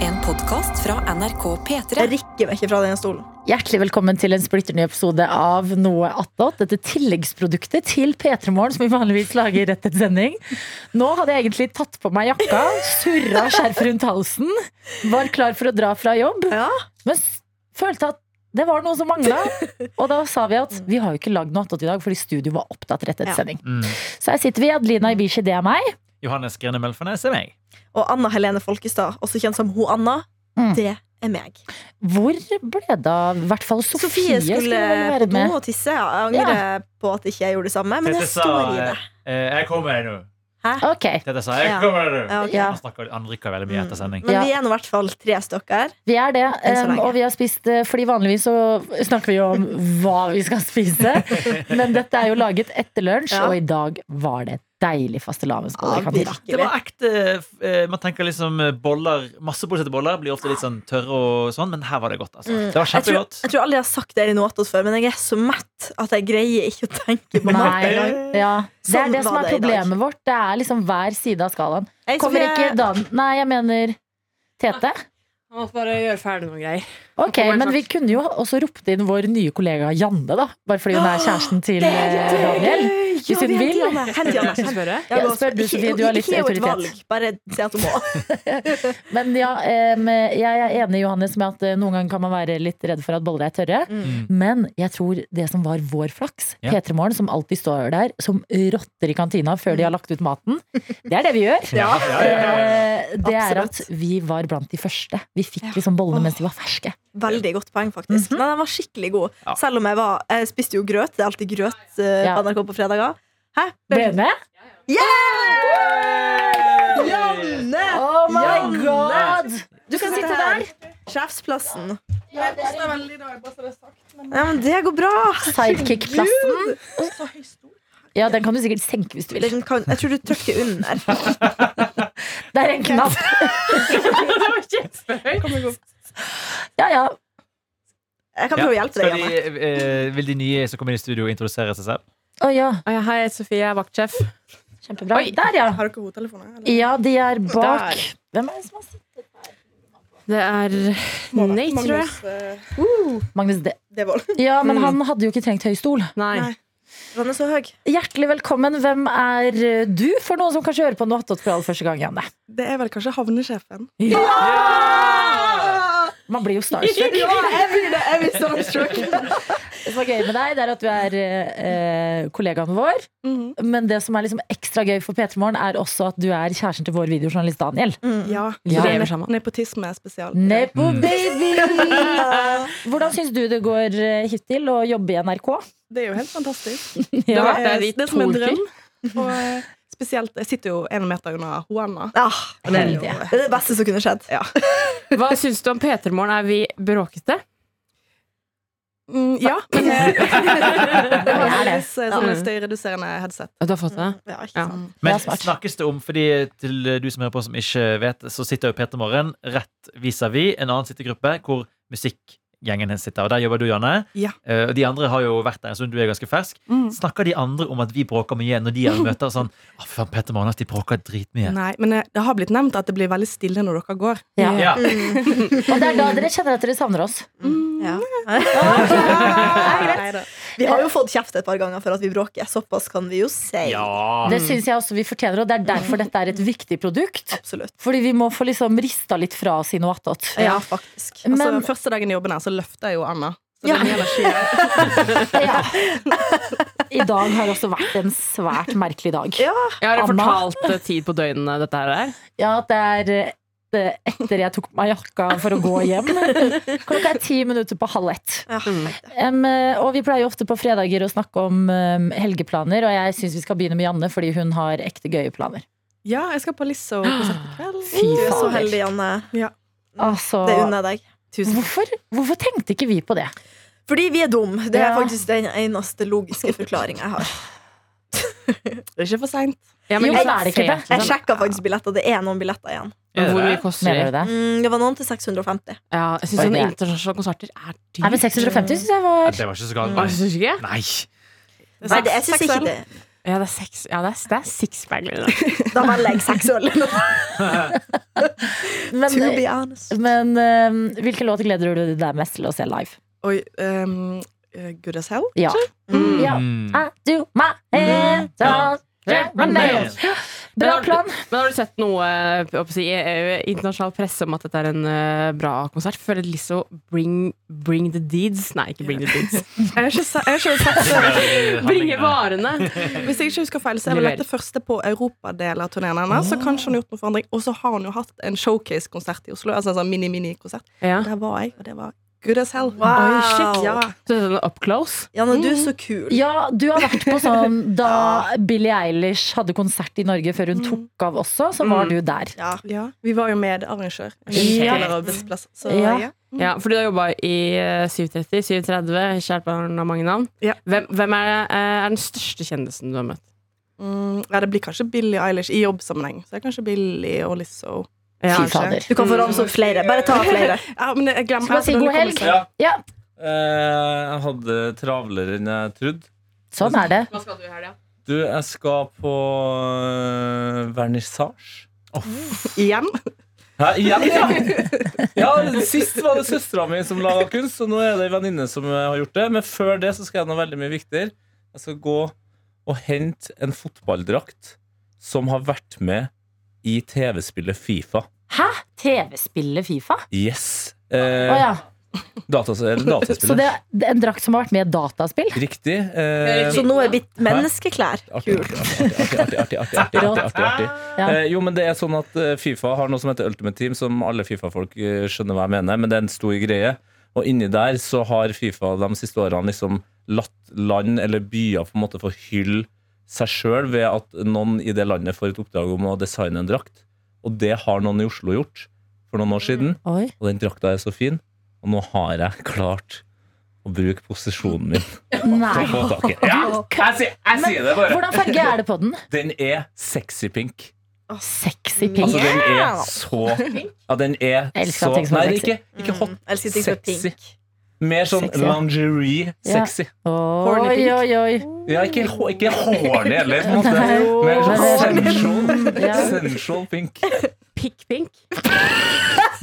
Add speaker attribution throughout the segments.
Speaker 1: En podkast fra NRK P3.
Speaker 2: Jeg rikker meg ikke fra denne stolen.
Speaker 3: Hjertelig velkommen til en splitter ny episode av Noe attåt. Dette tilleggsproduktet til P3 Morgen, som vi vanligvis lager rett etter sending. Nå hadde jeg egentlig tatt på meg jakka, surra skjerf rundt halsen, var klar for å dra fra jobb,
Speaker 2: Ja.
Speaker 3: men s- følte at det var noe som mangla. Og da sa vi at vi har jo ikke lagd noe attåt i dag, fordi studio var opptatt rett etter
Speaker 2: Ja.
Speaker 3: sending.
Speaker 4: Mm.
Speaker 3: Så her sitter vi. Adelina Ibishi, det er meg.
Speaker 4: Johannes Grene Melfarnes er meg.
Speaker 2: Og Anna Helene Folkestad, også kjent som Ho Anna,
Speaker 3: Mm.
Speaker 2: det er meg.
Speaker 3: Hvor ble det av I hvert fall
Speaker 2: Sofie
Speaker 3: Sofie,
Speaker 2: skulle på
Speaker 3: vel
Speaker 2: do og tisse. ja. Jeg angrer på at ikke jeg gjorde det samme, men jeg
Speaker 4: Tete sa,
Speaker 2: står i det.
Speaker 4: eh, jeg kommer nå.
Speaker 3: Ok,
Speaker 4: Tete sa
Speaker 2: Ja.
Speaker 4: jeg kommer nå.
Speaker 2: Ja, Mm. ok.
Speaker 3: Ja.
Speaker 4: Han, snakker, han rykker veldig mye etter sending.
Speaker 2: Men
Speaker 3: Ja.
Speaker 2: vi er nå i hvert fall tre stykker.
Speaker 3: vi er det.
Speaker 2: Enn så
Speaker 3: um,
Speaker 2: lenge.
Speaker 3: Og vi har spist eh, Fordi vanligvis så snakker vi jo om hva vi skal spise. Men dette er jo laget etter lunsj,
Speaker 2: Ja.
Speaker 3: og i dag var det deilig fastelavnsbolle i
Speaker 2: Ja,
Speaker 3: kantina.
Speaker 4: Det var ekte eh, Man tenker liksom eh, boller Masseproduserte boller blir ofte litt sånn tørre og sånn, men her var det godt, altså.
Speaker 2: Mm.
Speaker 4: Det var
Speaker 2: Jeg tror,
Speaker 4: kjempegodt.
Speaker 2: jeg tror aldri jeg har sagt det i noe attåt før, men jeg er så mett at jeg greier ikke å tenke på mat.
Speaker 3: Nei, ja. Det
Speaker 2: Sånn
Speaker 3: er det som
Speaker 2: var
Speaker 3: er
Speaker 2: det i dag.
Speaker 3: problemet vårt. Det er liksom hver side av skalaen.
Speaker 2: Jeg,
Speaker 3: Kommer
Speaker 2: Sofie,
Speaker 3: ikke Dan Nei, jeg mener Tete.
Speaker 5: Jeg måtte bare gjøre ferdig noen greier.
Speaker 3: Ok,
Speaker 5: kommer
Speaker 3: Men
Speaker 5: snart.
Speaker 3: vi kunne jo også ropt inn vår nye kollega Janne, da. Bare fordi hun er kjæresten til
Speaker 2: Ah, det er
Speaker 3: eh, Daniel.
Speaker 2: gøy!
Speaker 3: hvis hun
Speaker 2: vi henter
Speaker 3: vil.
Speaker 2: Janne. Hent Janne.
Speaker 5: Skal jeg spørre?
Speaker 2: Jeg
Speaker 3: Ja,
Speaker 2: går-
Speaker 3: spør du,
Speaker 2: ikke-
Speaker 3: Sofie, du har litt
Speaker 2: ikke gi henne et
Speaker 3: autoritet.
Speaker 2: valg, Bare si at hun må.
Speaker 3: Men ja, em, jeg er enig Johannes med at eh, noen ganger kan man være litt redd for at boller er tørre.
Speaker 4: Mm.
Speaker 3: Men jeg tror det som var vår flaks,
Speaker 4: Ja.
Speaker 3: P3 Morgen som alltid står der som rotter i kantina før de har lagt ut maten, det er det vi gjør.
Speaker 2: Ja.
Speaker 3: Eh, Det er at
Speaker 2: Absolutt.
Speaker 3: vi var blant de første. Vi fikk
Speaker 2: Ja.
Speaker 3: liksom bollene
Speaker 2: Åh.
Speaker 3: mens de var ferske.
Speaker 2: Veldig godt poeng, faktisk. Nei, den var skikkelig god.
Speaker 4: Mhm. Ja.
Speaker 2: Selv om jeg var Jeg spiste jo grøt. Det er alltid grøt eh,
Speaker 3: Ja.
Speaker 2: på NRK på fredager. Hæ?
Speaker 3: Ble du med?
Speaker 2: Janne!
Speaker 3: Oh my
Speaker 2: Janne!
Speaker 3: god!
Speaker 2: Du kan sitte der. Sjefsplassen. Ja, men det går bra.
Speaker 6: Mm.
Speaker 3: Sidekick-plassen. Ja, den kan du sikkert senke hvis du vil.
Speaker 2: Den liksom kan, jeg tror du trykker under.
Speaker 3: Det er en knapp. Ja, ja.
Speaker 2: Jeg kan prøve å hjelpe deg.
Speaker 4: Skal
Speaker 2: Janne.
Speaker 4: de, eh, vil de nye som kommer inn i studio, introdusere seg selv?
Speaker 3: Å ja.
Speaker 5: Å ja, hei, Sofie, jeg er vaktsjef.
Speaker 3: Kjempebra. Der, ja.
Speaker 6: Har dere hodetelefoner? eller?
Speaker 3: Ja, de er bak.
Speaker 5: Der.
Speaker 3: Hvem er det som har sittet?
Speaker 5: Det er
Speaker 6: Må det.
Speaker 5: Nate, tror jeg.
Speaker 6: Magnus, eh,
Speaker 3: Magnus De.
Speaker 6: det var
Speaker 3: Ja, men
Speaker 5: Mm.
Speaker 3: han hadde jo ikke trengt høy stol.
Speaker 5: Nei.
Speaker 2: Nei. Den er så høy.
Speaker 3: Hjertelig velkommen. Hvem er eh, du, for noen som kanskje hører på noe attåt for aller første gang? Janne
Speaker 6: Det er vel kanskje havnesjefen.
Speaker 3: Man blir jo
Speaker 2: jeg
Speaker 3: starstruck.
Speaker 2: blir det. Jeg blir starstruck.
Speaker 3: Det som er gøy med deg, det er at du er eh, kollegaen vår.
Speaker 6: Mhm.
Speaker 3: Men det som er liksom ekstra gøy for P3 Morgen, er også at du er kjæresten til vår videojournalist Daniel.
Speaker 2: Mm.
Speaker 6: Ja.
Speaker 3: Ja.
Speaker 6: Så det er sammen. Nepotisme er spesial.
Speaker 3: Nepo baby! Hvordan syns du det går eh, hittil å jobbe i NRK?
Speaker 6: Det er jo helt fantastisk.
Speaker 5: Det har vært
Speaker 6: er,
Speaker 5: der i
Speaker 6: det er som en
Speaker 5: to uker.
Speaker 6: drøm. Og eh, spesielt Jeg sitter jo en meter unna Hoanna.
Speaker 2: Ah,
Speaker 3: Det er jo-
Speaker 2: det er det beste som kunne skjedd.
Speaker 5: Hva syns du om P3morgen? Er vi bråkete?
Speaker 6: Mm, ja, men jeg, jeg har
Speaker 3: er det.
Speaker 6: heldigvis eh, sånne støyreduserende headset.
Speaker 5: Du har fått det?
Speaker 2: Ja, ikke
Speaker 5: Ja.
Speaker 2: sant.
Speaker 3: Det
Speaker 4: Men
Speaker 3: er smart.
Speaker 4: snakkes det om, fordi til du som hører på som ikke vet, så sitter jo Peter Morgen rett vis-à-vis en annen sittegruppe hvor musikkgjengen hennes sitter. Og der jobber du, Janne.
Speaker 6: Ja.
Speaker 4: Eh, og de andre har jo vært der en stund, du er ganske fersk.
Speaker 6: Mm.
Speaker 4: Snakker de andre om at vi bråker mye når de er møter sånn Å, faen, Peter Morgen, ass, de bråker dritmye.
Speaker 6: Nei, men eh, det har blitt nevnt at det blir veldig stille når dere går.
Speaker 3: Ja.
Speaker 4: Ja.
Speaker 3: Og det er da dere kjenner at dere savner oss.
Speaker 2: Ja.
Speaker 6: Neida.
Speaker 2: Vi har jo fått kjeft et par ganger for at vi bråker. Såpass kan vi jo si.
Speaker 4: Ja.
Speaker 3: Det syns jeg også vi fortjener, og det er derfor dette er et viktig produkt.
Speaker 2: Absolutt.
Speaker 3: Fordi vi må få liksom rista litt fra oss i noe attåt.
Speaker 2: Ja, faktisk.
Speaker 6: Altså,
Speaker 3: Men-
Speaker 6: den første dagen i jobben her, så løfter jeg jo Anna. Så
Speaker 2: Ja.
Speaker 6: det gjelder ikke.
Speaker 3: Ja. I dag har også vært en svært merkelig dag.
Speaker 2: Ja.
Speaker 5: Jeg har
Speaker 3: Anna.
Speaker 5: fortalt eh, tid på døgnene dette her er.
Speaker 3: Ja, det er eh, etter jeg tok på meg jakka for å gå hjem. Klokka er ti minutter på halv ett.
Speaker 2: Ja.
Speaker 3: Em, eh, og vi pleier jo ofte på fredager å snakke om em, helgeplaner, og jeg syns vi skal begynne med Janne, fordi hun har ekte gøye planer.
Speaker 6: Ja, jeg skal på Lisso-konsert i kveld.
Speaker 3: Fy
Speaker 2: Du er så
Speaker 3: fader.
Speaker 2: heldig, Janne.
Speaker 3: Altså,
Speaker 2: Mm. Det unner jeg deg.
Speaker 3: hvorfor, hvorfor tenkte ikke vi på det?
Speaker 2: Fordi vi er dum. Det er
Speaker 3: Ja.
Speaker 2: faktisk den eneste logiske forklaringa jeg har.
Speaker 6: Det er ikke for seint.
Speaker 5: Ja,
Speaker 3: Jo,
Speaker 5: liksom,
Speaker 3: men er det ikke det?
Speaker 5: fet,
Speaker 2: Jeg
Speaker 5: liksom.
Speaker 2: sjekka faktisk billetter. Det er noen billetter igjen.
Speaker 4: Er det
Speaker 5: Hvor
Speaker 4: det?
Speaker 5: mye koster
Speaker 3: Mener
Speaker 5: sånn-
Speaker 3: du det?
Speaker 5: det?
Speaker 2: Mm, det var noen til 650.
Speaker 5: Ja, jeg syns
Speaker 3: Oi,
Speaker 5: sånne
Speaker 3: det er-
Speaker 5: internasjonale konserter er dyrt.
Speaker 3: Nei, men 650 syns jeg
Speaker 4: Ja,
Speaker 3: var
Speaker 4: det var ikke så galt.
Speaker 5: Å, jeg
Speaker 4: Nei.
Speaker 5: synes ikke?
Speaker 4: Nei.
Speaker 2: Nei, det, jeg synes ikke
Speaker 6: Seksuell.
Speaker 2: det.
Speaker 5: Ja, det er seks ja, det er, det er sixpack. liksom.
Speaker 2: Da velger jeg seksuell. to be
Speaker 3: Men,
Speaker 2: honest.
Speaker 3: men eh, hvilken låt gleder du deg mest til å se live?
Speaker 6: Oi, ehm, eh, good as hell?
Speaker 3: Ja.
Speaker 6: Mm.
Speaker 3: Ja. Ah,
Speaker 4: Mm.
Speaker 3: I do my hands on my nails. Bra plan.
Speaker 5: Men har du sett noe eh, hva skal jeg si, eh, internasjonal presse om at dette er en eh, bra konsert? Føler Lizzo bring, bring the deeds Nei, ikke bring the deeds.
Speaker 6: Jeg har ikke sa- jeg har ikke sagt det.
Speaker 5: Bringe varene!
Speaker 6: Hvis jeg ikke husker feil, så er vel
Speaker 5: Blir vel.
Speaker 6: dette første på europadel av turneen hennes. Så kanskje hun har gjort noen forandring. Og så har hun jo hatt en showcase-konsert i Oslo. Altså en sånn mini-mini-konsert.
Speaker 5: Ja.
Speaker 6: Der var jeg, og det var good as hell.
Speaker 2: Wow.
Speaker 6: Oi, shit, ja.
Speaker 5: Så dette er sånn up close.
Speaker 2: Janne, du er så kul.
Speaker 3: Ja, du har vært på sånn da Billie Eilish hadde konsert i Norge før hun tok av også, så var du der.
Speaker 2: Ja.
Speaker 6: ja. Vi var jo medarrangør.
Speaker 3: Ja.
Speaker 6: Tidligere arbeidsplass. Så
Speaker 3: Ja.
Speaker 6: ja.
Speaker 5: Ja, for du har jobba i eh, 730, 730, kjært barn har mange navn.
Speaker 6: Ja.
Speaker 5: Hvem, hvem er, eh, er den største kjendisen du har møtt?
Speaker 6: Mm, ja, det blir kanskje Billie Eilish i jobbsammenheng. Så det er kanskje Billie og Lizzo.
Speaker 5: Ja,
Speaker 3: Fy
Speaker 6: kanskje.
Speaker 3: fader.
Speaker 2: Du kan
Speaker 6: Mm.
Speaker 2: få ramse opp flere. Bare ta flere.
Speaker 6: Ja, men jeg glemmer
Speaker 3: Skal man si
Speaker 6: altså,
Speaker 3: god
Speaker 6: denne
Speaker 3: helg?
Speaker 6: kommer seg.
Speaker 7: Ja.
Speaker 3: Ja,
Speaker 7: Eh, jeg hadde travlere enn jeg trodde.
Speaker 3: sånn er det.
Speaker 5: Hva skal du i helga?
Speaker 7: Du, jeg skal på uh, vernissasje.
Speaker 6: Igjen?
Speaker 7: Hæ, igjen, ja! ja! Sist var det søstera mi som laga kunst, og nå er det ei venninne som eh, har gjort det. Men før det så skal jeg noe veldig mye viktigere. Jeg skal gå og hente en fotballdrakt som har vært med i TV-spillet Fifa.
Speaker 3: Hæ? TV-spillet Fifa?
Speaker 7: Yes!
Speaker 3: Å
Speaker 7: Eh,
Speaker 3: ja.
Speaker 7: datas eller
Speaker 3: Så
Speaker 7: dataspillet.
Speaker 3: det er en drakt som har vært med i et dataspill?
Speaker 7: Riktig. Eh,
Speaker 2: Så nå er blitt menneskeklær.
Speaker 7: Artig,
Speaker 2: Kult.
Speaker 7: artig, artig, artig, artig, artig, artig, artig, artig, artig.
Speaker 3: Ja.
Speaker 7: Eh, jo, men det er sånn at eh, Fifa har noe som heter Ultimate Team, som alle Fifa-folk eh, skjønner hva jeg mener, men det er en stor greie. Og inni der så har Fifa de siste årene liksom latt land eller byer på en måte få hylle seg sjøl ved at noen i det landet får et oppdrag om å designe en drakt. Og det har noen i Oslo gjort for noen år siden,
Speaker 3: Oi.
Speaker 7: og den drakta er så fin. Og nå har jeg klart å bruke posisjonen min til
Speaker 3: Nei.
Speaker 7: å få tak i. Ja, jeg sier, jeg sier det bare.
Speaker 3: Hvordan farge er det på den?
Speaker 7: Den er sexy pink.
Speaker 3: Sexy
Speaker 7: Altså,
Speaker 3: pink.
Speaker 7: den er så Ja, den er
Speaker 3: Jeg elsker
Speaker 7: så
Speaker 3: at ting som er
Speaker 7: Nei,
Speaker 3: sexy. Mm.
Speaker 7: ikke,
Speaker 2: Mm.
Speaker 7: ikke hot.
Speaker 2: Elsker ting som er
Speaker 7: Sexy.
Speaker 2: pink.
Speaker 7: Mer sånn
Speaker 3: Sexy. Ja.
Speaker 7: lingerie-sexy.
Speaker 3: Oi, oi, oi.
Speaker 7: Ja, ikke, hå- ikke horny heller, på en måte.
Speaker 3: Nei.
Speaker 7: Mer sånn
Speaker 3: Horny.
Speaker 7: sensual,
Speaker 3: Ja.
Speaker 7: sensual pink.
Speaker 5: Pikk pink?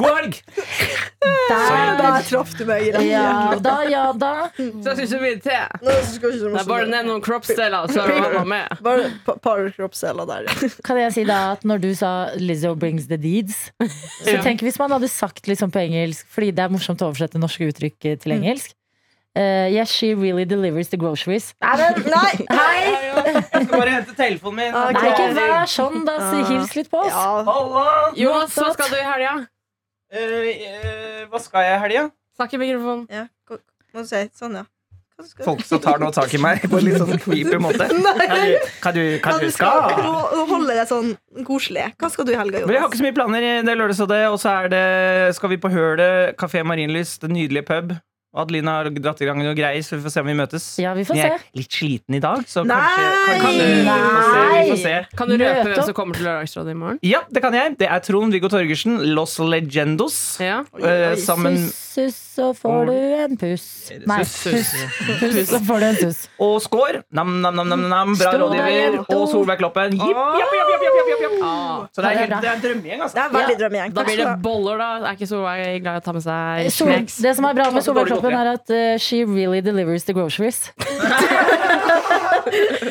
Speaker 7: God helg!
Speaker 3: Der,
Speaker 2: Der traff du meg i den.
Speaker 3: Ja da, ja da.
Speaker 5: Så syns du mye til.
Speaker 2: Nå skal ikke du
Speaker 5: Det er bare å nevne noen kroppsdeler, så er mamma med.
Speaker 2: Bare et pa- par kroppsceller der. ja.
Speaker 3: Kan jeg si da at når du sa 'Lizzo brings the deeds', så
Speaker 5: Ja.
Speaker 3: tenk hvis man hadde sagt liksom på engelsk, fordi det er morsomt å oversette norske uttrykk eh, til engelsk. Eh, yes, she really delivers the groceries. Nei, men,
Speaker 2: Nei!
Speaker 3: hei!
Speaker 8: Jeg skal bare hente telefonen min.
Speaker 2: Ah,
Speaker 3: Nei, ikke vær sånn, da. Så
Speaker 2: Ah.
Speaker 3: hils litt på oss.
Speaker 2: Ja.
Speaker 8: Halla!
Speaker 5: Jonas, hva skal du i helga?
Speaker 8: Eh, eh, hva skal jeg i helga?
Speaker 5: Snakk i mikrofonen.
Speaker 2: Ja, hva- Må du si sånn, ja. Hva skal
Speaker 8: Folk som tar nå tak i meg på en litt sånn creepy måte. Hva
Speaker 2: Nei!
Speaker 8: du, hva du, hva du skal?
Speaker 2: Nå nå holder jeg sånn koselig. Hva skal du i helga,
Speaker 8: Men jeg har
Speaker 2: Jonas?
Speaker 8: ikke så mye planer. Det er lørdag, og det. Og så er det, skal vi på Hølet, Kafé Marienlyst, den nydelige pub. Og Adelina har dratt i gang noe greier, så vi får se om vi møtes.
Speaker 3: Ja, vi får
Speaker 8: Men jeg
Speaker 3: se.
Speaker 8: er litt sliten i dag, så
Speaker 2: Nei!
Speaker 8: kanskje kan, kan, vi får se, Vi får se.
Speaker 5: Kan du røpe
Speaker 3: Møte
Speaker 5: hvem
Speaker 3: opp.
Speaker 5: som kommer til Lørdagsrådet i morgen?
Speaker 8: Ja, det kan jeg. Det er Trond-Viggo Torgersen, Los Legendos.
Speaker 5: Ja.
Speaker 8: eh, sammen
Speaker 3: Suss, suss, så får du en puss. Nei,
Speaker 8: Suss,
Speaker 3: puss,
Speaker 8: suss.
Speaker 3: puss, så får du en puss.
Speaker 8: og Skår. Nam, nam, nam, nam, nam. Bra
Speaker 3: Stå der,
Speaker 8: rådgiver.
Speaker 3: jenta.
Speaker 8: Og Solveig Kloppen. Jipp, japp, japp, japp, japp, japp, japp.
Speaker 5: Ah.
Speaker 8: Så det er,
Speaker 3: Ja, det er
Speaker 8: helt,
Speaker 3: bra.
Speaker 8: det er en drømmegjeng, altså.
Speaker 2: Det er veldig drømmegjeng.
Speaker 5: Da
Speaker 2: Takk
Speaker 5: blir
Speaker 2: skal du
Speaker 5: det
Speaker 2: ha.
Speaker 5: boller, da. Er ikke Solveig glad i å ta med seg
Speaker 3: Eh, Sol,
Speaker 5: snacks?
Speaker 3: det som er bra med
Speaker 8: Så dårlig
Speaker 3: Solveig-kloppen, er at eh, she really delivers the groceries.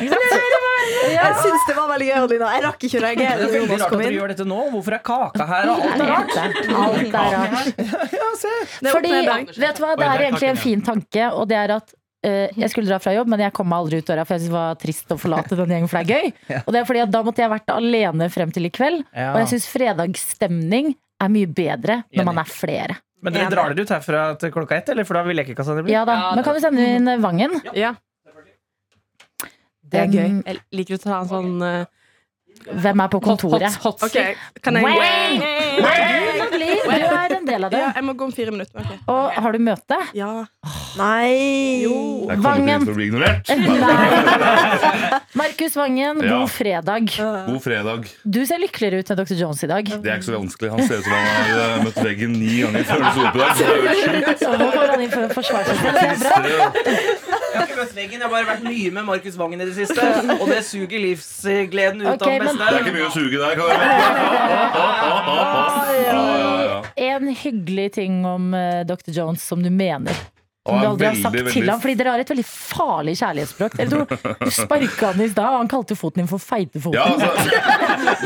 Speaker 2: Jeg syns det var veldig gøy, Adelina. Jeg rakk ikke å
Speaker 8: Det
Speaker 2: reagere
Speaker 8: er
Speaker 2: når
Speaker 8: veldig
Speaker 2: Jonas
Speaker 8: rart
Speaker 2: kom
Speaker 8: at dere
Speaker 2: inn.
Speaker 8: gjør dette nå. Hvorfor er kaka her? Og alt er rart.
Speaker 3: Alt er alt er rart.
Speaker 8: Ja, se.
Speaker 3: Fordi, vet du hva, det
Speaker 4: Oi,
Speaker 3: er
Speaker 4: der
Speaker 3: egentlig
Speaker 4: klarte
Speaker 3: en fin tanke, og det er at eh, jeg skulle dra fra jobb, men jeg kom meg aldri ut døra, for jeg syntes det var trist å forlate den gjengen, for det er gøy. Og det er fordi at da måtte jeg vært alene frem til i kveld, og jeg syns fredagsstemning er mye bedre
Speaker 8: Enig.
Speaker 3: når man er flere.
Speaker 8: Men dere drar dere ut herfra til klokka ett, eller? For da vil lekekassa det bli.
Speaker 3: Ja da,
Speaker 5: Ja,
Speaker 3: Men kan du sende inn eh, Vangen?
Speaker 5: Ja. Det er gøy.
Speaker 3: Den-
Speaker 5: Jeg liker å ta en sånn eh,
Speaker 3: Hvem er på
Speaker 5: hot, hot,
Speaker 3: kontoret?
Speaker 5: hot
Speaker 6: Ok, kan jeg
Speaker 3: Wang! Wang! Lovely, Du er en del av det.
Speaker 6: Ja, jeg må gå om fire minutter. men ok.
Speaker 3: Og har du møte?
Speaker 6: Ja.
Speaker 2: Nei
Speaker 6: Jo.
Speaker 7: Jeg kommer
Speaker 3: Vangen.
Speaker 7: ikke til å bli ignorert.
Speaker 3: Nei. Markus Vangen,
Speaker 9: Ja.
Speaker 3: god fredag.
Speaker 9: God fredag.
Speaker 3: Du ser lykkeligere ut enn Dr. Jones i dag.
Speaker 9: Det er ikke så vanskelig. Han ser ut som han har eh, møtt veggen ni ganger før han sto opp i dag. så det er jo eh.
Speaker 3: Så nå går han inn for å forsvare seg selv. Det er bra.
Speaker 9: trist, det.
Speaker 8: Jeg har ikke møtt veggen, jeg har bare vært mye med Markus Vangen i det siste. Og det suger livsgleden ut
Speaker 3: Ok,
Speaker 8: av
Speaker 3: men-
Speaker 8: den
Speaker 9: Det er ikke
Speaker 8: beste.
Speaker 9: mye å suge der, kan jeg Ah, si. ah. Ja, ja, ja.
Speaker 3: En hyggelig ting om eh, Dr. Jones som du mener. Som
Speaker 9: Og
Speaker 3: du
Speaker 9: er
Speaker 3: aldri har sagt
Speaker 9: veldig,
Speaker 3: til
Speaker 9: veldig-
Speaker 3: ham, fordi dere har et veldig farlig kjærlighetsspråk. Dere to- Du sparka han i stad, og han kalte foten din for feitefoten.
Speaker 9: Ja, altså,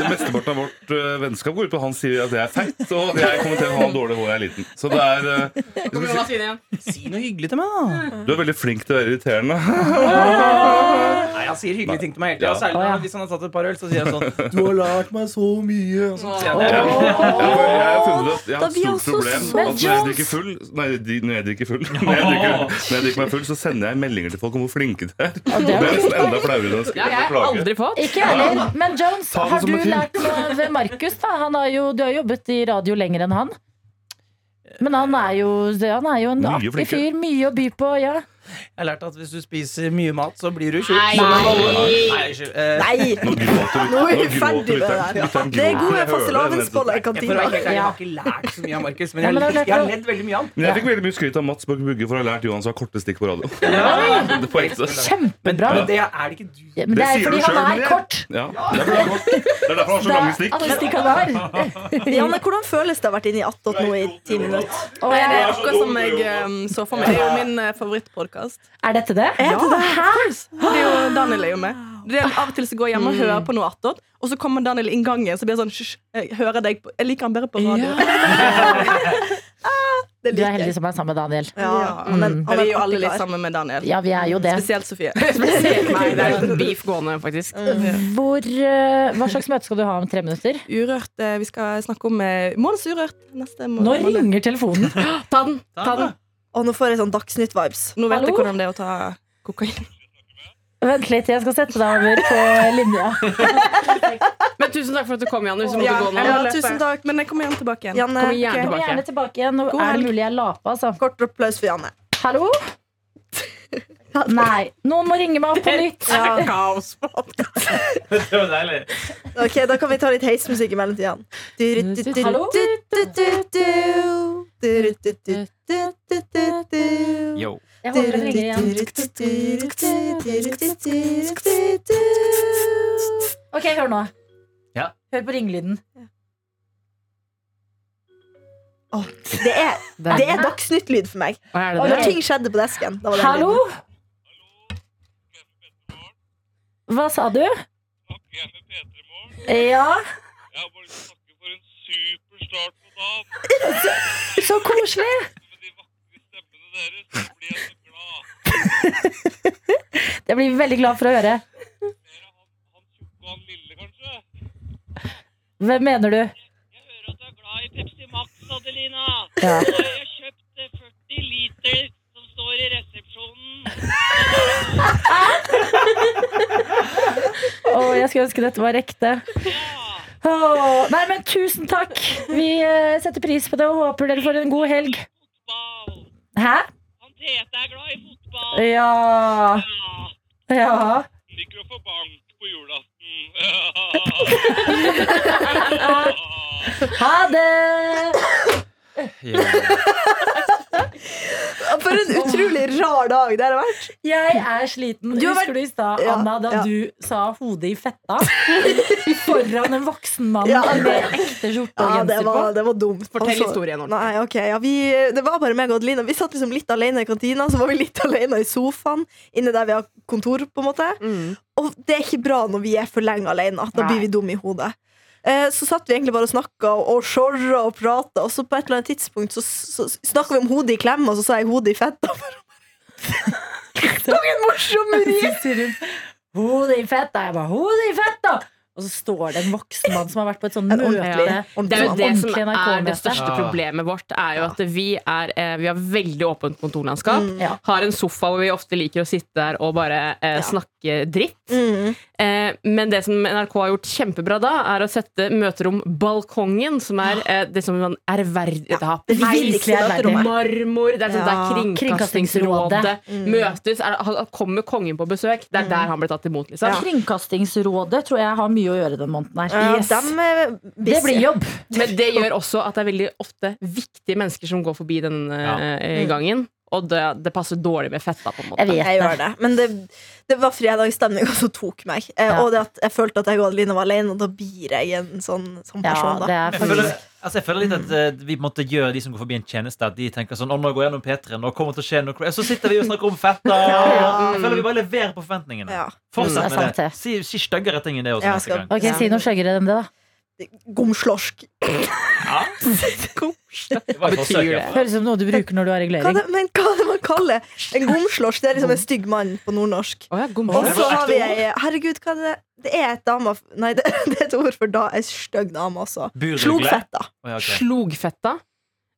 Speaker 9: det Mesteparten av vårt eh, vennskap går ut på at han sier at jeg er feit, og jeg kommenterer at han har dårlig hår og jeg er liten. Så det er eh, hvis man sier,
Speaker 8: Si noe hyggelig til meg, da.
Speaker 9: Du er veldig flink til å være irriterende.
Speaker 8: Nei, han sier hyggelige ting til meg hele tida.
Speaker 9: Ja.
Speaker 8: Særlig
Speaker 3: Å, ja.
Speaker 8: når- hvis han har tatt et par øl, så sier han sånn.
Speaker 9: Du har lært meg så mye. Og
Speaker 8: sier han det.
Speaker 9: Jeg har funnet at jeg har
Speaker 2: Da
Speaker 9: et
Speaker 2: blir han
Speaker 9: stort
Speaker 2: så
Speaker 9: problem.
Speaker 2: svensk.
Speaker 9: At når jeg drikker full Nei, de- når jeg drikker full Når jeg drikker, når jeg drikker meg full, så sender jeg meldinger til folk om hvor flinke de er.
Speaker 3: Ja,
Speaker 9: Og
Speaker 3: det
Speaker 9: det
Speaker 3: er
Speaker 9: er
Speaker 3: jo
Speaker 9: nesten enda flauere enn å
Speaker 5: Ja, jeg
Speaker 9: skrive
Speaker 5: har
Speaker 9: klage.
Speaker 5: aldri fått.
Speaker 3: Ikke jeg heller. Men Jones,
Speaker 9: Ta det
Speaker 3: har
Speaker 9: som
Speaker 3: du
Speaker 9: et hint.
Speaker 3: lært noe av Markus? da? Han har jo, du har jobbet i radio lenger enn han. Men han er jo, han er jo en
Speaker 9: Mye
Speaker 3: artig
Speaker 9: flinkere.
Speaker 3: fyr. Mye å by på. Ja.
Speaker 8: Jeg har lært at hvis du spiser mye mat, så blir du tjukk.
Speaker 5: Nei.
Speaker 8: Nei, tjukk. Eh,
Speaker 2: Nei!
Speaker 9: Nå gråter vi.
Speaker 2: Nå er vi
Speaker 9: gråter
Speaker 2: ferdig med det
Speaker 9: lytteren.
Speaker 2: her.
Speaker 9: Lytteren
Speaker 2: Det er gode
Speaker 9: gråter. Jeg hører det,
Speaker 2: fastelavnsboller i
Speaker 9: men-
Speaker 8: for å
Speaker 2: kantina.
Speaker 8: være helt ærlig, Jeg har ikke lært så mye av Markus, men
Speaker 3: Ja,
Speaker 8: jeg,
Speaker 3: men det er
Speaker 8: har-
Speaker 3: lett
Speaker 8: jeg har
Speaker 3: å-
Speaker 8: ledd veldig mye av han.
Speaker 9: Men jeg fikk veldig mye skryt av Mats Borch Bugge for å ha lært Johan så korte stikk på radio. Det er poenget.
Speaker 8: Men,
Speaker 3: Kjempebra.
Speaker 8: men det er det ikke du
Speaker 3: Ja, Men det er
Speaker 9: sier
Speaker 3: fordi
Speaker 9: du
Speaker 3: han
Speaker 9: selv, men
Speaker 3: er
Speaker 9: det-
Speaker 3: kort.
Speaker 9: Ja, det er bra. Det er derfor han har
Speaker 3: Det
Speaker 9: så lange
Speaker 3: er
Speaker 9: stikk.
Speaker 3: alle stikk han har.
Speaker 2: Janne, hvordan føles det å ha vært inne i Attåt nå i ti minutter?
Speaker 3: Og
Speaker 6: Det
Speaker 3: jeg-
Speaker 6: er akkurat som jeg eh, så for meg. Det er jo min eh, favorittpodkast.
Speaker 3: Er dette det?
Speaker 6: Det er jo, Daniel er jo med. Det er av og til så går jeg hjem og hører på noe attåt, og så kommer Daniel inn gangen. Så blir jeg sånn Hysj, jeg hører deg på Jeg liker han bedre på radio. Ah, det
Speaker 3: Du er
Speaker 6: liker
Speaker 3: heldig
Speaker 6: jeg.
Speaker 3: som er sammen med Daniel.
Speaker 6: Ja, han er, han er
Speaker 2: Vi
Speaker 6: jo alle litt sammen med Daniel.
Speaker 3: Ja, vi er jo det.
Speaker 6: Spesielt Sofie.
Speaker 5: Spesielt meg. Det er en beef gående, faktisk.
Speaker 3: Hvor, eh, hva slags møte skal du ha om tre minutter?
Speaker 6: Urørt. eh, Vi skal snakke om eh, Måneds Urørt neste
Speaker 3: Nå
Speaker 6: måned.
Speaker 3: ringer telefonen.
Speaker 5: Ta den. ta den
Speaker 2: Og nå får jeg sånn Dagsnytt-vibes.
Speaker 6: Nå vet
Speaker 3: Hallo?
Speaker 6: jeg hvordan det er å ta kokain.
Speaker 3: Vent litt, jeg skal sette deg over på linja.
Speaker 5: Men tusen takk for at du kom, Janne. Hvis du
Speaker 6: Ja,
Speaker 5: måtte gå nå.
Speaker 6: ja, tusen takk, men jeg kommer igjen tilbake igjen.
Speaker 2: Janne,
Speaker 5: Kom gjerne
Speaker 2: ok.
Speaker 3: Kom gjerne tilbake igjen. Nå
Speaker 2: God
Speaker 3: er det
Speaker 2: helg.
Speaker 3: mulig jeg la på, altså.
Speaker 2: kort applaus for Janne.
Speaker 3: Hallo? Nei. Noen må ringe meg opp på nytt.
Speaker 8: Det var deilig.
Speaker 2: Ok, Da kan vi ta litt heismusikk i mellomtiden.
Speaker 3: Hallo?
Speaker 4: Yo.
Speaker 3: Jeg håper det ringer igjen. Ok, hør nå.
Speaker 4: Ja.
Speaker 3: Hør på ringelyden.
Speaker 2: Åh, Det er, det er Dagsnytt-lyd for meg.
Speaker 5: Hva er det
Speaker 3: Oi.
Speaker 5: der?
Speaker 2: Når ting skjedde på desken. Da var det den
Speaker 3: Hallo?
Speaker 2: lyden.
Speaker 3: Hva sa du? Ja,
Speaker 10: Jeg har bare lyst til å takke for en super start på dagen.
Speaker 3: så koselig.
Speaker 10: Med de vakre stemmene deres så blir jeg så glad.
Speaker 3: Det blir vi veldig glad for å høre.
Speaker 10: Mer av han, han tjukke og han lille, kanskje?
Speaker 3: Hvem mener du?
Speaker 10: Jeg hører at du er glad i Pepsi Max, Adelina.
Speaker 3: Ja.
Speaker 10: Og jeg har kjøpt eh, 40 liter som står i resepsjonen.
Speaker 3: Å, jeg skulle ønske dette var ekte.
Speaker 10: Ja!
Speaker 3: Åh, nei, men tusen takk. Vi eh, setter pris på det og håper dere får en god helg.
Speaker 10: Fotball.
Speaker 3: Hæ?
Speaker 10: Han Tete er glad i fotball.
Speaker 3: Ja.
Speaker 10: Ja.
Speaker 3: Ja.
Speaker 10: Liker å få bank på julaften. Ja.
Speaker 3: Ha det!
Speaker 4: Yo.
Speaker 2: For en utrolig rar dag det har vært.
Speaker 3: Jeg er sliten.
Speaker 2: Du har vært-
Speaker 3: Husker du i stad,
Speaker 2: Ja,
Speaker 3: Anna, da
Speaker 2: ja.
Speaker 3: du sa 'hodet i fetta' foran en voksen mann
Speaker 2: Ja.
Speaker 3: med ekte skjorte og
Speaker 2: Ja, det
Speaker 3: genser
Speaker 2: var,
Speaker 3: på?
Speaker 2: det var dumt.
Speaker 5: Fortell
Speaker 2: Altså,
Speaker 5: historien ordentlig.
Speaker 2: Nei, ok, ja, vi, Det var bare meg og Adelina. Vi satt liksom litt alene i kantina, så var vi litt alene i sofaen inne der vi har kontor. på en måte
Speaker 5: Mm.
Speaker 2: Og det er ikke bra når vi er for lenge alene. Da blir
Speaker 5: Nei.
Speaker 2: vi dumme i hodet. Eh, Så satt vi egentlig bare og snakka og sjorra og prata, og så på et eller annet tidspunkt så, så snakka vi om hodet i klemme, og så sa jeg hodet i fetta.
Speaker 3: Så sier hun 'hodet i fetta'. Jeg bare 'hodet i fetta'! Og så står det en voksen mann som har vært på et sånn
Speaker 2: En
Speaker 3: møte.
Speaker 2: ordentlig,
Speaker 3: Ja.
Speaker 5: Det
Speaker 2: ordentlig
Speaker 5: er jo
Speaker 2: mann.
Speaker 5: det som
Speaker 3: ordentlig
Speaker 5: er
Speaker 3: NRK-møte.
Speaker 5: det største
Speaker 4: Ja.
Speaker 5: problemet vårt, er jo at vi, er, eh, vi har veldig åpent kontorlandskap.
Speaker 3: Ja.
Speaker 5: Har en sofa hvor vi ofte liker å sitte der og bare eh, snakke dritt.
Speaker 2: Mm.
Speaker 5: Eh, men det som NRK har gjort kjempebra da, er å sette møterom Balkongen, som er eh, det som man ærverdig Det har
Speaker 2: Ah. Det
Speaker 3: Eislig
Speaker 2: billigste
Speaker 3: er verre.
Speaker 2: møterommet.
Speaker 5: marmor, det er, sånn,
Speaker 2: Ja. Mm.
Speaker 5: det er Kringkastingsrådet.
Speaker 3: Kringkastingsrådet.
Speaker 5: Møtes, er, han- kommer kongen på besøk. Det er der han ble tatt imot, liksom.
Speaker 3: Kringkastingsrådet tror jeg har mye å gjøre den måneden her.
Speaker 2: Ja,
Speaker 5: Yes.
Speaker 2: dem eh, er busy.
Speaker 3: Det blir jobb.
Speaker 5: Men det gjør også at det er veldig ofte viktige mennesker som går forbi den eh, gangen. og det, det passer dårlig med fetta. på en måte
Speaker 3: Jeg vet
Speaker 2: Mm. Jeg gjør
Speaker 3: det.
Speaker 2: det. Men det, det var fredagsstemning som tok meg. Eh,
Speaker 3: Ja.
Speaker 2: Og det at jeg følte at jeg og Adeline var alene, og da blir jeg en sånn, sånn
Speaker 3: Ja,
Speaker 2: person.
Speaker 3: det
Speaker 2: da.
Speaker 3: er
Speaker 4: Jeg føler,
Speaker 3: faktisk
Speaker 4: altså jeg føler litt at eh, vi måtte gjøre de som går forbi en tjeneste, at de tenker sånn Å, nå går jeg gjennom P3, nå kommer det til å skje noe cra-» Så sitter vi og snakker om fetta.
Speaker 3: Ja.
Speaker 4: Jeg føler vi bare leverer på forventningene.
Speaker 2: Ja.
Speaker 3: Det
Speaker 4: Fortsett
Speaker 3: er
Speaker 4: med
Speaker 3: sant,
Speaker 4: det.
Speaker 3: det.
Speaker 4: Si, si styggere ting enn det også
Speaker 2: Ja,
Speaker 4: neste
Speaker 2: skal-
Speaker 4: gang.
Speaker 3: Ok, Si noe skjøggere enn det, da.
Speaker 2: Gomslorsk.
Speaker 4: Det var et
Speaker 5: Betyr
Speaker 4: forsøk,
Speaker 5: det?
Speaker 4: iallfall.
Speaker 3: Høres ut som noe du bruker når du har
Speaker 2: Hva
Speaker 3: regulering.
Speaker 2: det, men hva er det man kaller En gomslorsk, det er liksom en stygg mann på nordnorsk.
Speaker 5: Å ja, god
Speaker 2: Og
Speaker 5: morgen.
Speaker 2: så har vi ei Herregud, hva er det Det er et dame Nei, det, det er et ord for da ei stygg dame også.
Speaker 4: Burgle?
Speaker 2: Slogfetta.
Speaker 4: Å, ja, ok.
Speaker 5: Slogfetta.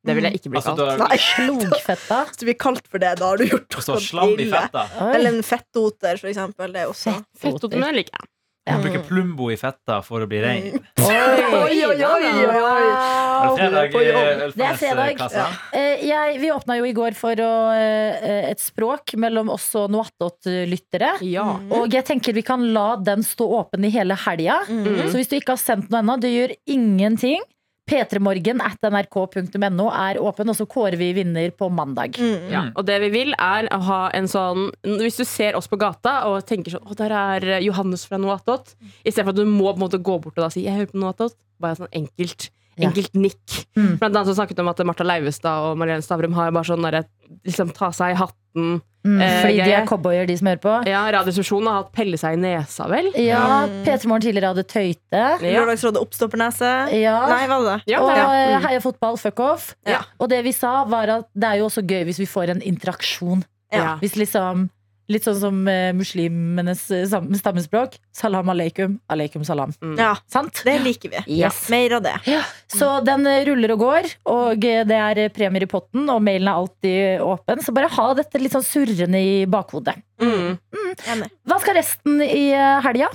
Speaker 5: Det vil jeg ikke bli
Speaker 4: Altså,
Speaker 5: kalt.
Speaker 4: du har-
Speaker 2: Nei,
Speaker 3: Slogfetta.
Speaker 2: hvis du blir kalt for det, da har du gjort sånn
Speaker 4: det står slam i
Speaker 2: ille.
Speaker 4: fetta.
Speaker 3: Oi.
Speaker 2: Eller en fettdoter, for eksempel. Det er også
Speaker 5: Fettot, men jeg liker jeg.
Speaker 4: Du bruker Plumbo i fetta for å bli rein.
Speaker 2: Oi, oi, oi, oi, oi.
Speaker 4: Er det fredag?
Speaker 2: på jobb.
Speaker 4: eh,
Speaker 3: Det er fredag.
Speaker 4: Elfenes, eh,
Speaker 2: Ja.
Speaker 4: kassa?
Speaker 3: Eh, jeg, vi åpna jo i går for å, eh, et språk mellom oss og Noatot-lyttere.
Speaker 5: Ja.
Speaker 2: Mm.
Speaker 3: Og jeg tenker vi kan la den stå åpen i hele helga.
Speaker 2: Mm.
Speaker 3: Så hvis du ikke har sendt noe ennå, det gjør ingenting. P3morgen at nrk.no er åpen, og så kårer vi vinner på mandag.
Speaker 2: Mm.
Speaker 5: Ja, og det vi vil er å ha en sånn Hvis du ser oss på gata og tenker sånn Å, der er Johannes fra Noatot. Istedenfor at du må på en måte gå bort og da si Jeg hører på Noatot. Bare sånn enkelt.
Speaker 3: Ja.
Speaker 5: Enkelt nikk.
Speaker 3: Mm.
Speaker 5: Blant annet så snakket de om at Martha Leivestad og Marlene Stavrum har bare sånn derre liksom ta seg i hatten.
Speaker 3: Mm,
Speaker 5: Eh,
Speaker 3: fordi de
Speaker 5: jeg-
Speaker 3: er cowboyer, de som hører på.
Speaker 5: Ja, Radioresepsjonen har hatt pelle seg i nesa, vel?
Speaker 3: Ja,
Speaker 5: Mm.
Speaker 3: P3morgen tidligere hadde Tøyte.
Speaker 5: Ja.
Speaker 2: Lørdagsrådet Oppstoppernese.
Speaker 3: Ja.
Speaker 2: Nei, var det det?
Speaker 5: Ja,
Speaker 3: Og
Speaker 5: det er-
Speaker 3: eh,
Speaker 5: Mm.
Speaker 3: heia fotball, fuck off.
Speaker 2: Ja.
Speaker 3: Og det vi sa, var at det er jo også gøy hvis vi får en interaksjon.
Speaker 5: Ja.
Speaker 3: Hvis liksom Litt sånn som eh, muslimenes eh, sam- stammespråk. Salam aleikum, aleikum salam.
Speaker 2: Ja,
Speaker 3: Sant?
Speaker 2: det liker vi.
Speaker 3: Yes.
Speaker 2: Mer av det.
Speaker 3: Så
Speaker 5: Mm.
Speaker 3: den eh, ruller og går, og eh, det er eh, premier i potten, og mailen er alltid eh, åpen. Så bare ha dette litt sånn surrende i bakhodet.
Speaker 5: Mm.
Speaker 2: Enig.
Speaker 3: Hva skal resten i eh, helga?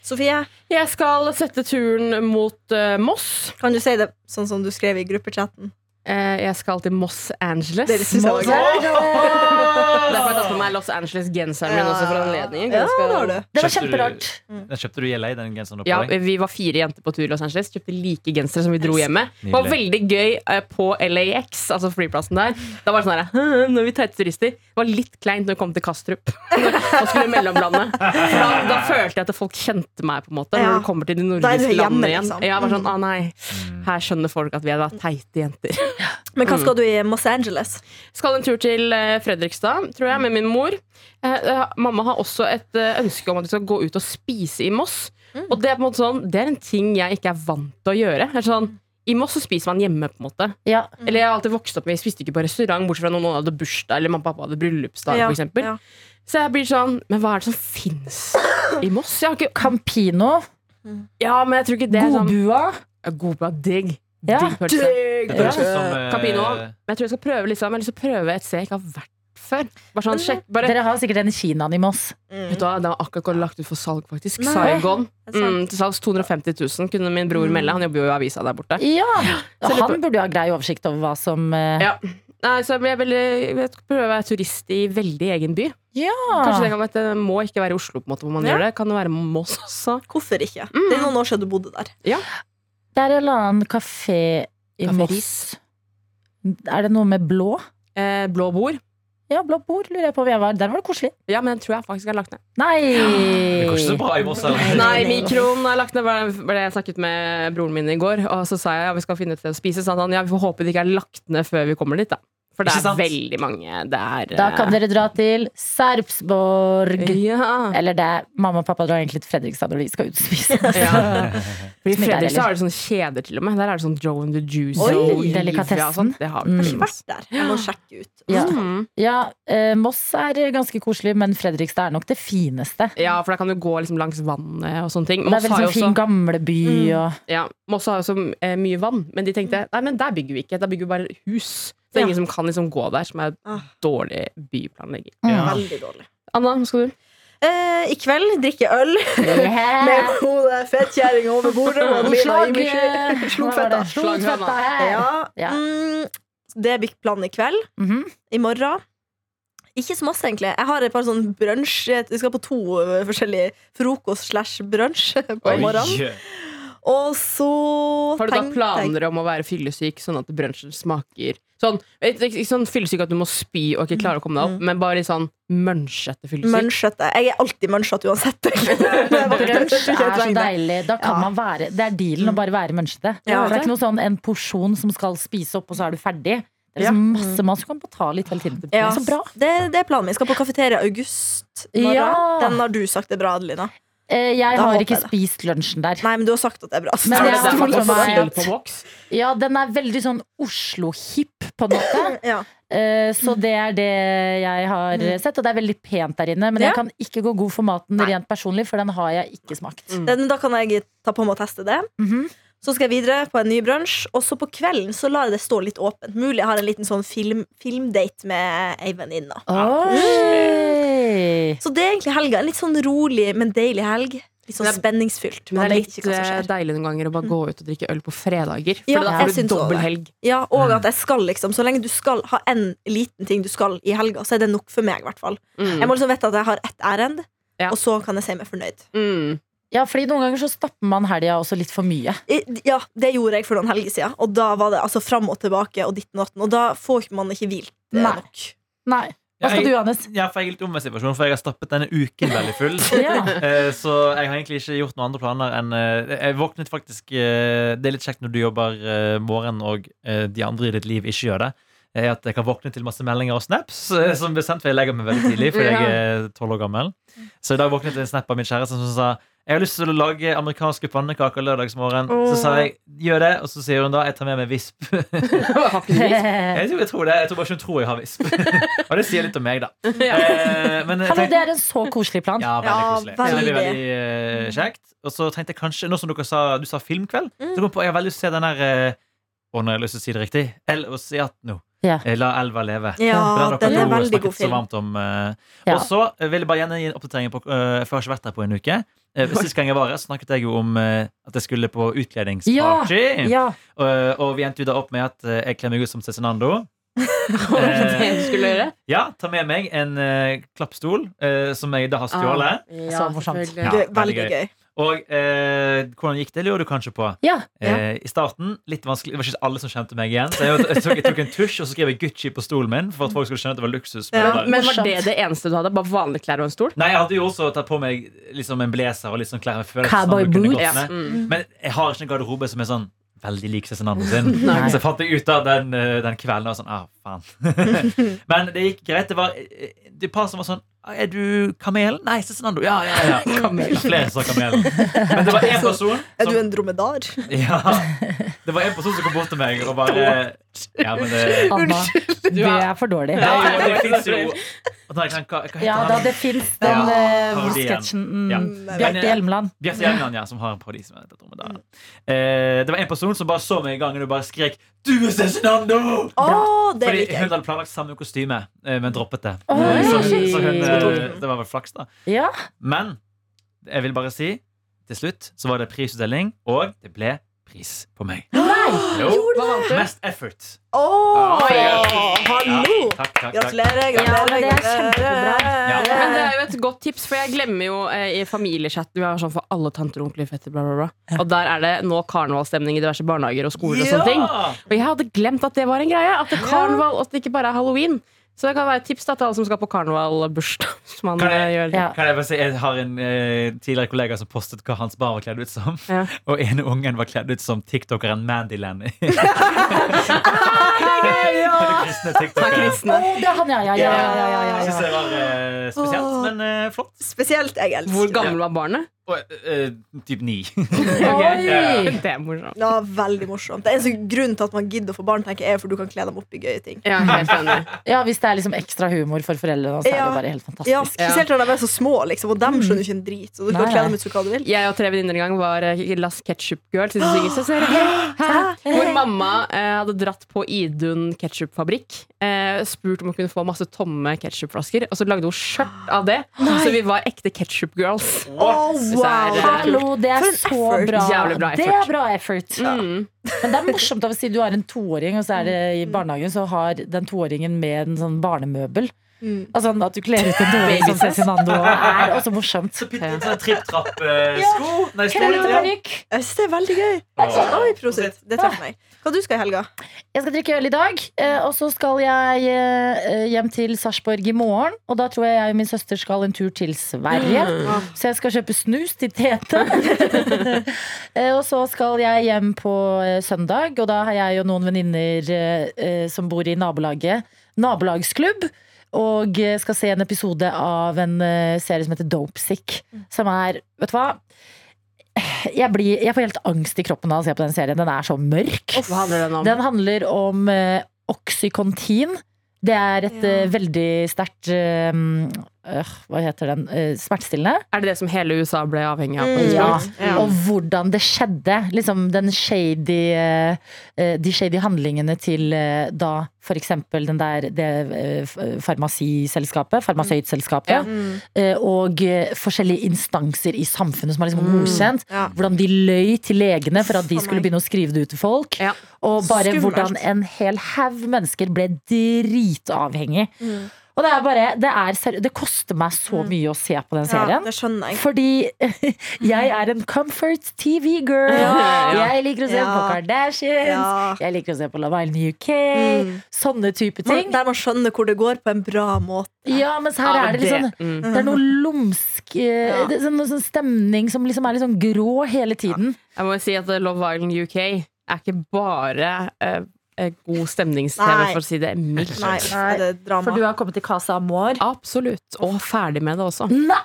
Speaker 2: Sofie,
Speaker 5: Jeg skal sette turen mot eh, Moss.
Speaker 2: kan du si det sånn som du skrev i gruppechatten?
Speaker 5: Eh, jeg skal til Moss Angeles.
Speaker 2: Dere synes jeg var gøy.
Speaker 5: Derfor har jeg tatt på meg Los Angeles-genseren min også for anledningen.
Speaker 2: Ja,
Speaker 5: Ganske-
Speaker 2: det har du.
Speaker 3: Det var
Speaker 4: Kjøpte du-
Speaker 3: kjemperart.
Speaker 4: Den Kjøpte du i LA, den genseren?
Speaker 5: Ja,
Speaker 4: oppå deg?
Speaker 5: Vi var fire jenter på tur i Los Angeles, kjøpte like gensere som vi dro hjemme. Det var
Speaker 4: Nydelig.
Speaker 5: veldig gøy eh, på LAX, altså flyplassen der. Da var det sånn her, når vi teite turister. Det var litt kleint når vi kom til Kastrup og skulle mellomlande. For Da, da følte jeg at folk kjente meg, på en måte.
Speaker 2: Ja.
Speaker 5: Når du kommer til de
Speaker 2: Da er du
Speaker 5: nordiske
Speaker 2: hjemme,
Speaker 5: landene igjen.
Speaker 2: liksom.
Speaker 5: Ja, bare sånn, ah nei, Her skjønner folk at vi er da teite jenter.
Speaker 2: Men hva skal du i Los Angeles?
Speaker 5: Skal en tur til eh, Fredrikstad, tror jeg, med min mor. Eh, eh, mamma har også et eh, ønske om at vi skal gå ut og spise i Moss. Og det er på en måte sånn, det er en ting jeg ikke er vant til å gjøre. Det er sånn, I Moss så spiser man hjemme, på en måte.
Speaker 3: Ja.
Speaker 5: Eller jeg har alltid vokst opp med, jeg spiste ikke på restaurant, bortsett fra når noen hadde bursdag eller mamma og pappa hadde bryllupsdag.
Speaker 2: Ja,
Speaker 5: for eksempel.
Speaker 2: ja.
Speaker 5: Så jeg blir sånn, men hva er det som fins i Moss? Jeg har ikke,
Speaker 3: Campino,
Speaker 5: ja, men jeg tror ikke det er sånn
Speaker 3: Godbua.
Speaker 5: Ja, Godbua, digg.
Speaker 3: Ja.
Speaker 5: Digg pølse.
Speaker 4: Det høres ut som, eh,
Speaker 5: Campino. Men jeg tror jeg skal prøve liksom, jeg har lyst til å prøve et sted jeg ikke har vært før. Bare sånn, sjekk, bare,
Speaker 3: Dere har sikkert en kinaen i Moss.
Speaker 5: Vet du hva, Den var akkurat gått lagt ut for salg, faktisk.
Speaker 2: Nei.
Speaker 5: Saigon.
Speaker 2: Er det sant?
Speaker 5: Mm, til salgs 250 000, kunne min bror melde. Han jobber jo i avisa der borte.
Speaker 3: Ja,
Speaker 5: Så litt-
Speaker 3: Han burde jo ha grei oversikt over hva som eh,
Speaker 5: Ja. Nei, så jeg vil jeg vil prøve å være turist i veldig egen by. Kanskje det kan være, Det må ikke være i Oslo, på en måte, hvor man
Speaker 2: Ja.
Speaker 5: gjør det. Kan det være Moss også?
Speaker 2: Hvorfor ikke? Det er noen år siden du bodde der.
Speaker 3: Det er en eller annen kafé i
Speaker 5: Kafé
Speaker 3: Moss. Er det noe med blå?
Speaker 5: Eh, blå bord.
Speaker 3: Ja, blå bord lurer jeg på hvor jeg var. Der var det koselig.
Speaker 5: Ja, men den tror jeg faktisk er lagt ned.
Speaker 3: Nei!
Speaker 4: Det går ikke så bra i Moss. eller?
Speaker 5: Nei, mikroen er lagt ned. Bare, bare jeg snakket med broren min i går, og så sa jeg ja, vi skal finne et sted å spise. Så sa han ja, vi får håpe det ikke er lagt ned før vi kommer dit, da. For det
Speaker 4: Ikke
Speaker 5: er
Speaker 4: sant?
Speaker 5: veldig mange. Det er
Speaker 3: Da kan dere dra til Sarpsborg.
Speaker 5: eh, ja.
Speaker 3: Eller det Mamma og pappa drar egentlig til Fredrikstad når de skal ut og spise.
Speaker 5: Ja. I
Speaker 3: Som ikke er
Speaker 5: Fredrikstad
Speaker 3: heller.
Speaker 5: har de sånne kjeder til og med. Der er det sånn Joe and the Juice
Speaker 3: Oi,
Speaker 5: og Olivia
Speaker 3: delikatessen.
Speaker 5: og sånn. Det har vi
Speaker 3: Mm.
Speaker 5: kanskje
Speaker 2: Ikke
Speaker 5: vært.
Speaker 2: vært der. Jeg må sjekke ut.
Speaker 3: Ja,
Speaker 5: Mm.
Speaker 3: ja eh, Moss er ganske koselig, men Fredrikstad er nok det fineste.
Speaker 5: Ja, for da kan du gå liksom langs vannet og sånne ting.
Speaker 3: Det er
Speaker 5: Moss
Speaker 3: veldig
Speaker 5: har jo
Speaker 3: sånn fin
Speaker 5: også, Mm.
Speaker 3: gamleby og
Speaker 5: ja, Moss har jo så eh, mye vann, men de tenkte nei, men der bygger vi ikke. Der bygger vi bare hus. Så det er
Speaker 2: Ja.
Speaker 5: ingen som kan liksom gå der, som er
Speaker 2: Ah.
Speaker 5: dårlig byplanlegging.
Speaker 3: Mm.
Speaker 4: Ja.
Speaker 2: Veldig dårlig.
Speaker 5: Anna, hva skal du?
Speaker 2: Eh, I kveld drikke øl med
Speaker 3: yeah.
Speaker 2: hodet fettkjerring over bordet. og Adelina
Speaker 3: Slag,
Speaker 2: gir meg
Speaker 3: eh,
Speaker 2: skyld. Slogfetta.
Speaker 3: hva var det? Slogfetta her.
Speaker 2: Ja.
Speaker 3: Ja.
Speaker 2: Mm, det blir planen i kveld.
Speaker 3: Mhm.
Speaker 2: I morgen. Ikke så masse, egentlig. Jeg har et par sånn brunsj. Vi skal på to eh, forskjellige frokost slash brunsj på
Speaker 4: Oi.
Speaker 2: morgenen. Og så
Speaker 5: Har du da
Speaker 2: tenkte jeg-
Speaker 5: planer om å være fyllesyk, sånn at brunsjen smaker Sånn, ikke ikke sånn fyllesyk at du må spy og ikke klare å komme deg opp, men bare litt sånn mønskete fyllesyk.
Speaker 2: Mønskete. Jeg er alltid mønskete uansett. Brunsj
Speaker 3: Brunsj er så deilig. Da kan
Speaker 2: Ja.
Speaker 3: man være, det er dealen å bare være mønskete.
Speaker 2: Ja.
Speaker 3: For det er ikke noe sånn en porsjon som skal spise opp, og så er du ferdig. Det er liksom masse mat som kan bare ta litt hele tiden. Det
Speaker 2: Ja,
Speaker 3: er så bra.
Speaker 2: Det, det er planen min. Skal på kafeteria i august. Nora.
Speaker 3: Ja.
Speaker 2: Den har du sagt er bra, Adelina.
Speaker 3: Eh, Jeg
Speaker 2: Da håper
Speaker 3: har
Speaker 2: jeg
Speaker 3: ikke
Speaker 2: det.
Speaker 3: spist lunsjen der.
Speaker 2: Nei, men du har sagt at det er bra. så
Speaker 3: Men
Speaker 2: da
Speaker 3: jeg
Speaker 2: må du
Speaker 3: har
Speaker 2: stole
Speaker 3: fått
Speaker 2: på
Speaker 3: meg-
Speaker 2: meg.
Speaker 5: Fyll på voks.
Speaker 3: Ja, den er veldig sånn Oslo-hipp, på en måte.
Speaker 2: Ja.
Speaker 3: Eh, Så det er det jeg har eh, sett, og det er veldig pent der inne. Men
Speaker 2: Mm. Ja.
Speaker 3: jeg kan ikke gå god for maten rent personlig, for den har jeg ikke smakt.
Speaker 5: Mm.
Speaker 2: Den, da kan jeg ta på meg og teste det.
Speaker 3: Mhm.
Speaker 2: Så skal jeg videre på en ny brunsj. Og så på kvelden så lar jeg det stå litt åpent. Mulig jeg har en liten sånn film, filmdate med ei venninne.
Speaker 3: Oi.
Speaker 2: Så det er egentlig helga. En litt sånn rolig, men deilig helg. Litt sånn
Speaker 5: Men det
Speaker 2: spenningsfylt.
Speaker 5: Men
Speaker 2: Man
Speaker 5: det
Speaker 2: vet
Speaker 5: er litt
Speaker 2: ikke hva som
Speaker 5: eh,
Speaker 2: skjer.
Speaker 5: deilig noen ganger å bare gå ut og drikke øl på fredager. For
Speaker 2: Ja,
Speaker 5: da
Speaker 2: jeg
Speaker 5: får
Speaker 2: syns
Speaker 5: du
Speaker 2: også
Speaker 5: dobbel
Speaker 2: det.
Speaker 5: helg.
Speaker 2: Ja, og
Speaker 5: mm.
Speaker 2: at jeg skal liksom Så lenge du skal ha en liten ting du skal i helga, så er det nok for meg. i hvert fall
Speaker 5: Mm.
Speaker 2: Jeg må liksom vite at jeg har ett ærend,
Speaker 5: Ja.
Speaker 2: og så kan jeg si meg fornøyd.
Speaker 5: Mm.
Speaker 4: Eh,
Speaker 3: Ja, fordi noen ganger så stapper man helga også litt for mye.
Speaker 2: I, ja, Det gjorde jeg for noen helger siden, og da var det altså fram og tilbake og ditten og datten. Og da får man ikke hvilt eh,
Speaker 3: Nei.
Speaker 2: nok.
Speaker 3: Nei. Hva skal
Speaker 4: Jeg-
Speaker 3: du, Johannes?
Speaker 4: Ja, for jeg er litt omvendt situasjon, for jeg har stappet denne uken veldig full.
Speaker 3: Ja.
Speaker 4: Eh, Så jeg har egentlig ikke gjort noen andre planer enn eh, Jeg våknet faktisk eh, Det er litt kjekt når du jobber eh, morgen og eh, de andre i ditt liv ikke gjør det. Er at jeg kan våkne til masse meldinger og snaps eh, som blir sendt, for jeg legger meg veldig tidlig. Fordi jeg er 12 år gammel Så i dag våknet jeg til en snap av min kjæreste som sa jeg har lyst til å lage amerikanske pannekaker lørdagsmorgen. Så sa jeg gjør det, og så sier hun da jeg tar med meg visp.
Speaker 3: Hallo,
Speaker 4: Jeg tror, jeg tror det, jeg tror bare ikke hun tror jeg har visp. Og det sier litt om meg, da. Eh, men jeg tenkte-
Speaker 3: det er en så koselig plan.
Speaker 4: ja, veldig
Speaker 2: Ja,
Speaker 4: koselig. Så det blir
Speaker 2: veldig.
Speaker 4: veldig eh, kjekt. Og så tenkte jeg kanskje, nå som dere sa, du sa filmkveld,
Speaker 2: Mm.
Speaker 4: så kom jeg på, jeg har veldig lyst til å se den der eh, Å, nå har jeg lyst til å si det riktig. El Osiatno.
Speaker 3: Ja.
Speaker 4: Eh, La elva leve.
Speaker 2: Ja,
Speaker 4: har
Speaker 2: den
Speaker 4: dere
Speaker 2: er
Speaker 4: to
Speaker 2: veldig
Speaker 4: snakket
Speaker 2: god
Speaker 4: Så
Speaker 2: film.
Speaker 4: varmt om, eh.
Speaker 3: Ja.
Speaker 4: Og så eh, vil jeg bare gjerne gi en oppdatering på eh, For jeg har ikke vært her på en uke. Eh, Sist gang jeg var her, snakket jeg jo om eh, at jeg skulle på utkledningsparty.
Speaker 3: Ja.
Speaker 4: Eh, og vi endte jo da opp med at eh, jeg kler meg ut som Cezinando. Eh,
Speaker 5: Hva var det det du skulle gjøre?
Speaker 4: Ja, ta med meg en eh, klappstol eh, som jeg da har
Speaker 2: Ah.
Speaker 4: stjålet.
Speaker 5: Ja,
Speaker 3: Så morsomt.
Speaker 5: selvfølgelig.
Speaker 4: Ja,
Speaker 2: Det er
Speaker 4: veldig
Speaker 2: veldig
Speaker 4: gøy.
Speaker 2: gøy.
Speaker 4: Og eh, hvordan gikk det, lurer du kanskje på.
Speaker 3: Ja.
Speaker 4: Eh, I starten, litt vanskelig Det var ikke alle som kjente meg igjen. Så jeg, jeg, tok, jeg tok en tusj, og så skrev jeg Gucci på stolen min. For at folk skulle skjønne at det var luksus. på
Speaker 2: Ja,
Speaker 4: det der.
Speaker 5: Men var det det eneste du hadde? Bare vanlige klær og en stol?
Speaker 4: Nei, Jeg hadde jo også tatt på meg liksom en blazer og litt sånn klær. Jeg føler
Speaker 3: Cowboy
Speaker 4: sånn du kunne
Speaker 3: boots.
Speaker 4: gått med.
Speaker 5: Mm.
Speaker 4: Men jeg har ikke en garderobe som er sånn veldig lik Cezinando sin.
Speaker 3: Nei.
Speaker 4: Så jeg fant jeg ut av den, eh, den kvelden og sånn, ah, faen. Men det gikk greit. Det var eh, et par som var sånn «Ah, Er du kamelen? Nei, Cezinando. Ja, ja, ja. Kamel. Flere som sa kamelen. Men det var én person
Speaker 2: Er du
Speaker 4: som,
Speaker 2: en dromedar?
Speaker 4: ja, det var en person som kom bort til meg og bare Ja, men det
Speaker 3: Anna, det er for dårlig.
Speaker 4: det, er jo- det fins jo Å, nei, hva, hva heter
Speaker 3: Ja, da
Speaker 4: han?
Speaker 3: det fins den
Speaker 4: Ja,
Speaker 3: eh,
Speaker 4: parodien.
Speaker 3: sketsjen.
Speaker 4: Ja. eh,
Speaker 3: Mm. Bjarte Hjelmeland.
Speaker 4: Bjarte Gjelland, ja, som har en parodi som heter Dromedaren. Eh, det var en person som bare så meg i gangen og bare skrek 'Du er Cezinando!'
Speaker 2: Å, det
Speaker 4: Fordi
Speaker 2: liker
Speaker 4: hun
Speaker 2: jeg.
Speaker 4: hadde planlagt samme kostyme, eh, men droppet det.
Speaker 3: Oi!
Speaker 4: Så, så hun, eh, det var vel flaks, da.
Speaker 3: Ja.
Speaker 4: Men jeg vil bare si til slutt så var det prisutdeling, og det ble pris på meg. Jo. Mest effort.
Speaker 2: Å, hallo!
Speaker 4: Ja, takk, takk, takk.
Speaker 2: Gratulerer,
Speaker 3: Ja, men
Speaker 2: gratulerer.
Speaker 3: det
Speaker 2: gratulerer.
Speaker 3: er
Speaker 4: kjempebra.
Speaker 5: Men det er jo et godt tips, for jeg glemmer jo eh, i familiechat Vi har sånn for alle tanter og onkler fetter, bla, bla, bla. Og der er det nå karnevalstemning i diverse barnehager og skoler og
Speaker 4: Ja!
Speaker 5: sånne ting. Og jeg hadde glemt at det var en greie. At det er karneval, og at det ikke bare er halloween. Så det kan være et tips da, til alle som skal på karnevalbursdag. Som man
Speaker 4: Kan
Speaker 5: eh,
Speaker 4: jeg-
Speaker 5: gjør.
Speaker 3: Ja.
Speaker 4: Kan jeg bare si, jeg har en eh, tidligere kollega som postet hva hans barn var kledd ut som.
Speaker 5: Ja.
Speaker 4: Og ene ungen var kledd ut som tiktokeren Mandyland. Den kristne tiktokeren.
Speaker 3: Å, det er han, ja, ja, ja. ja, ja, ja,
Speaker 4: Jeg
Speaker 3: ja.
Speaker 4: synes det var eh, spesielt, men eh, flott.
Speaker 2: Spesielt jeg
Speaker 5: Hvor
Speaker 2: elsker. det.
Speaker 5: gammel var barnet?
Speaker 4: Og, eh, typ ni.
Speaker 3: Oi!
Speaker 5: Det er morsomt.
Speaker 2: Ja, veldig morsomt. Det er eneste grunnen til at man gidder å få barn, tenker jeg, er for du kan kle dem opp i gøye ting.
Speaker 5: Ja, helt enig.
Speaker 3: Ja, Hvis det er liksom ekstra humor for foreldrene, så er
Speaker 2: Ja.
Speaker 3: det bare helt
Speaker 2: Ja,
Speaker 3: fantastisk.
Speaker 2: Spesielt når de er så små, liksom, og dem skjønner jo ikke en drit. Så du kan
Speaker 3: Nei,
Speaker 2: kle
Speaker 3: nei.
Speaker 2: dem ut som hva du vil.
Speaker 5: Jeg og tre venninner en gang var eh, Las Ketchup Girl. Siste synger, så ser jeg, hæ? Hvor mamma eh, hadde dratt på Idun ketsjupfabrikk. Eh, spurt om hun kunne få masse tomme ketsjupflasker. Og så lagde hun skjørt av det. Så vi var ekte ketchup girls.
Speaker 2: Oh,
Speaker 5: Så er det-
Speaker 2: wow.
Speaker 3: Hallo, det er
Speaker 2: For en
Speaker 3: så
Speaker 2: effort.
Speaker 3: bra.
Speaker 5: Jævlig bra
Speaker 3: Det
Speaker 5: effort.
Speaker 3: er bra effort.
Speaker 5: Mm.
Speaker 3: Men det er morsomt å si du har en toåring, og så er det i barnehagen så har den toåringen med en sånn barnemøbel. Altså at du kler ut en dårlig som Cezinando er også morsomt.
Speaker 4: Så putte en sånn
Speaker 8: eh,
Speaker 4: tripp-trapp-sko. Nei, stol.
Speaker 3: Krøllete
Speaker 4: Ja.
Speaker 3: parykk.
Speaker 2: Jeg synes det er veldig gøy. Oi, prosit. Det traff meg. Hva du skal i helga?
Speaker 3: Jeg skal drikke øl i dag, eh, og så skal jeg eh, hjem til Sarpsborg i morgen. Og da tror jeg jeg og min søster skal en tur til Sverige. Så jeg skal kjøpe snus til Tete. Eh, og så skal jeg hjem på eh, søndag, og da har jeg og noen venninner eh, eh, som bor i nabolaget, nabolagsklubb. Og eh, skal se en episode av en eh, serie som heter Dopesick. Som er, vet du hva jeg, blir, jeg får helt angst i kroppen av å se på den serien. Den er så mørk.
Speaker 5: Hva handler den om?
Speaker 3: Den handler om eh, Oxycontin. Det er et eh, veldig sterkt eh, øh, Hva heter den? Eh, smertestillende.
Speaker 5: Er det det som hele USA ble avhengig av?
Speaker 2: Mm.
Speaker 3: Ja.
Speaker 5: Ja.
Speaker 3: Og hvordan det skjedde. Liksom den shady, eh, eh, de shady handlingene til eh, da f.eks. den der det eh, f- farmasiselskapet, farmasøytselskapet,
Speaker 5: Ja.
Speaker 3: eh, og eh, forskjellige instanser i samfunnet som har liksom godkjent.
Speaker 2: Ja.
Speaker 3: Hvordan de løy til legene for at de
Speaker 2: Faen
Speaker 3: skulle
Speaker 2: meg.
Speaker 3: begynne å skrive det ut til folk.
Speaker 5: Ja.
Speaker 3: Og bare
Speaker 2: Skummelt.
Speaker 3: hvordan en hel haug mennesker ble dritavhengig. Og det er bare Det, er seri det koster meg så mye å se på den
Speaker 2: Ja,
Speaker 3: serien.
Speaker 2: det skjønner jeg.
Speaker 3: Fordi jeg er en comfort TV girl.
Speaker 5: Ja.
Speaker 3: Jeg liker å se på
Speaker 2: Ja.
Speaker 3: Kardashians.
Speaker 2: Ja.
Speaker 3: Jeg liker å se på Love Island UK.
Speaker 2: Mm.
Speaker 3: Sånne type
Speaker 2: Man,
Speaker 3: ting.
Speaker 2: der man skjønner hvor det går på en bra måte.
Speaker 3: Ja, mens her er det litt sånn
Speaker 5: Mm.
Speaker 3: det er noe lumsk eh, det er sånn, noe sånn stemning som liksom er litt sånn grå hele tiden.
Speaker 5: Jeg må jo si at eh, Love Island UK er ikke bare eh, eh, god stemnings-TV,
Speaker 2: Nei.
Speaker 5: for å si det mildt.
Speaker 2: Nei, er det drama.
Speaker 3: For du har kommet til Casa Amor.
Speaker 5: Absolutt. Og ferdig med det også.
Speaker 3: Nei!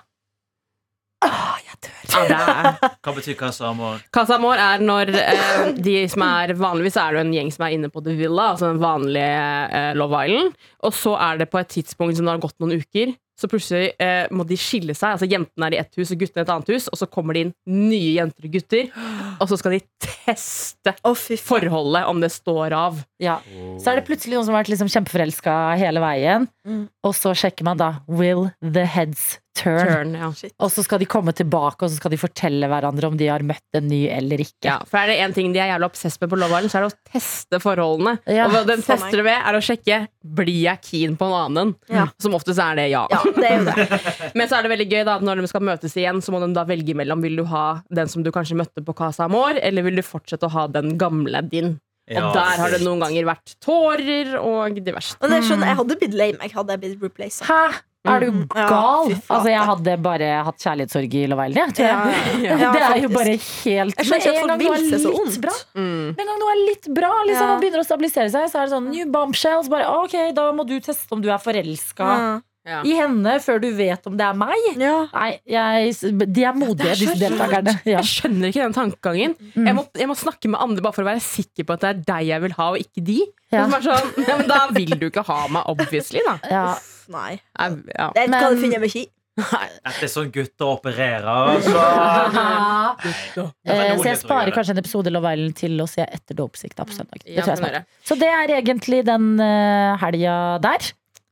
Speaker 5: Ja, det er
Speaker 4: Hva betyr hva som og
Speaker 5: Casa Amor er når eh, de som er vanligvis er det en gjeng som er inne på The Villa, altså den vanlige eh, Love Island, og så er det på et tidspunkt som det har gått noen uker, så plutselig eh, må de skille seg. Altså jentene er i ett hus og guttene i et annet hus, og så kommer det inn nye jenter og gutter, og så skal de teste
Speaker 2: Å, fy faen.
Speaker 5: forholdet om det står av.
Speaker 3: Ja. Så er det plutselig noen som har vært liksom kjempeforelska hele veien,
Speaker 2: Mm.
Speaker 3: og så sjekker man da Will the heads turn?
Speaker 5: Turn, ja.
Speaker 3: Og så skal de komme tilbake og så skal de fortelle hverandre om de har møtt en ny eller ikke.
Speaker 5: Ja, for er det en ting de er jævla obsess med på Love Island, så er det å teste forholdene.
Speaker 3: Ja,
Speaker 5: og hva de
Speaker 2: for
Speaker 5: tester det ved, er å sjekke blir jeg keen på en annen.
Speaker 2: Ja.
Speaker 5: Som oftest er det ja.
Speaker 2: Ja, det er jo det.
Speaker 5: Men så er det veldig gøy da at når de skal møtes igjen, så må de da velge mellom vil du ha den som du kanskje møtte på Casa Amor, eller vil du fortsette å ha den gamle din. Og der har det noen ganger vært tårer og diverse.
Speaker 2: Men jeg
Speaker 3: Mm.
Speaker 2: skjønner, jeg hadde blitt lei meg hadde jeg blitt replaced.
Speaker 3: Hæ? Er du
Speaker 2: Mm. Ja,
Speaker 3: gal?
Speaker 2: fy faen.
Speaker 3: altså, jeg hadde bare hatt kjærlighetssorg i Love Island, jeg, tror jeg. det er jo bare helt
Speaker 2: Jeg skjønner ikke at
Speaker 3: en
Speaker 2: folk
Speaker 3: gang
Speaker 2: vil
Speaker 3: noe er
Speaker 2: se så
Speaker 3: litt
Speaker 2: ondt.
Speaker 3: bra,
Speaker 5: Mm.
Speaker 3: Med en gang noe er litt bra liksom,
Speaker 2: Ja.
Speaker 3: og begynner å stabilisere seg, så er det sånn new bombshells. Bare, ok, Da må du teste om du er forelska
Speaker 2: Mm.
Speaker 5: Ja.
Speaker 3: i henne før du vet om det er meg.
Speaker 2: Ja.
Speaker 3: Nei, jeg, De er modige,
Speaker 5: Det er så
Speaker 3: disse deltakerne. Ja.
Speaker 5: Jeg skjønner ikke den tankegangen. Jeg, må, jeg må snakke med andre bare for å være sikker på at det er deg jeg vil ha, og ikke de.
Speaker 3: Ja.
Speaker 5: Som er sånn, ja, men da vil du ikke ha meg, obviously. Da.
Speaker 3: Ja.
Speaker 2: Nei.
Speaker 5: Jeg, ja.
Speaker 2: Det
Speaker 3: Men-
Speaker 2: kan jeg finne meg i.
Speaker 4: Dette er sånn gutter opererer. altså. Så.
Speaker 3: Eh, Så jeg sparer kanskje en episode Love Island til å se etter Dopesikt da på søndag. Det tror
Speaker 5: Ja,
Speaker 3: jeg
Speaker 5: kan
Speaker 3: snart.
Speaker 5: gjøre.
Speaker 3: Så det er egentlig den eh, helga der,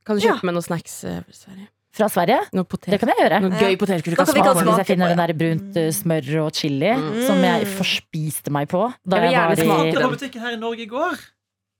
Speaker 5: Kan du kjøpe meg noen snacks? eh, fra Sverige?
Speaker 3: fra Sverige.
Speaker 5: Noe,
Speaker 3: Det
Speaker 5: potet,
Speaker 3: kan jeg gjøre.
Speaker 5: noe gøy potetgull du
Speaker 2: Da
Speaker 5: Mm. kan
Speaker 2: kan vi gå
Speaker 5: smake på. Mm.
Speaker 2: smake.
Speaker 3: Hvis jeg finner den der brunt eh, smør og chili, som jeg forspiste meg på da
Speaker 5: Jeg vil
Speaker 3: jeg
Speaker 5: gjerne
Speaker 3: var
Speaker 5: smake
Speaker 3: i
Speaker 4: Det var butikken her i Norge i går.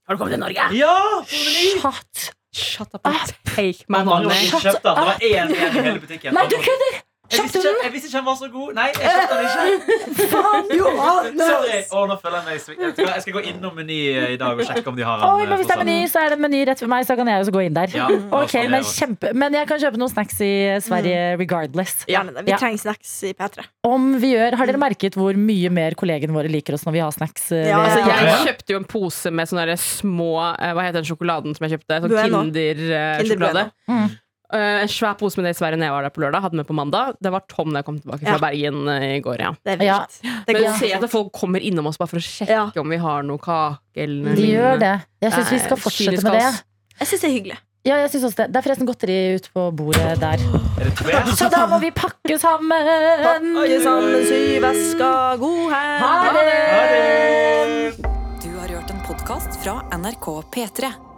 Speaker 5: Har du kommet til Norge?
Speaker 4: Ja!
Speaker 3: Shut!
Speaker 5: Shut up and take my
Speaker 4: Mange var
Speaker 5: money.
Speaker 4: ikke kjøpt den. Det var én igjen i hele butikken.
Speaker 3: Nei, du kødder!
Speaker 4: Jeg
Speaker 3: Kjøpte
Speaker 4: visste
Speaker 3: du
Speaker 4: ikke,
Speaker 3: den?
Speaker 4: jeg visste ikke han var så god. Nei, jeg kjøpte den ikke. Sorry. Å, nå føler jeg meg svik- Jeg skal- Jeg skal gå innom Meny eh, i dag og sjekke om de har han,
Speaker 3: Oi,
Speaker 4: eh,
Speaker 3: men hvis det er
Speaker 4: for
Speaker 3: meny,
Speaker 4: salg.
Speaker 3: så er det meny rett ved meg, så kan jeg også gå inn der.
Speaker 4: Ja,
Speaker 3: Ok,
Speaker 4: sånn
Speaker 3: Men
Speaker 4: det var.
Speaker 3: kjempe Men jeg kan kjøpe noen snacks i
Speaker 5: Mm.
Speaker 3: Sverige regardless.
Speaker 2: Gjerne det. Vi
Speaker 3: Ja.
Speaker 2: trenger snacks i P3.
Speaker 3: Om vi gjør, Har dere merket hvor mye mer kollegene våre liker oss når vi har snacks? eh,
Speaker 2: Ja,
Speaker 3: ved-
Speaker 5: Altså, jeg
Speaker 4: Ja.
Speaker 5: kjøpte jo en pose med sånne der små eh, Hva heter den sjokoladen som jeg kjøpte? Sånn
Speaker 2: Bueno. Kinder
Speaker 5: Kinder-sjokolade.
Speaker 2: Bueno.
Speaker 3: Mm.
Speaker 5: Eh, en svær pose med det i Sverige når jeg var der på lørdag. Hadde med på mandag. Det var tom da jeg kom tilbake
Speaker 2: Ja.
Speaker 5: fra Bergen eh, i går. Ja.
Speaker 2: Det er
Speaker 3: Ja.
Speaker 2: vilt. Det
Speaker 5: Men
Speaker 2: går
Speaker 5: se at folk kommer innom oss bare for å sjekke
Speaker 2: Ja.
Speaker 5: om vi har noe kake eller noe
Speaker 3: De gjør det.
Speaker 5: lignende.
Speaker 3: Jeg syns vi
Speaker 5: Nei,
Speaker 3: skal fortsette
Speaker 5: kynisk
Speaker 3: med det.
Speaker 5: av oss.
Speaker 2: Jeg syns det er hyggelig.
Speaker 3: Ja, jeg synes også Det Det er forresten godteri ute på bordet der.
Speaker 4: Er det tver?
Speaker 3: Så da må vi pakke sammen!
Speaker 2: Pakke sammen, sy veska, god helg!
Speaker 3: Ha det!
Speaker 1: Du har hørt en podkast fra NRK P3.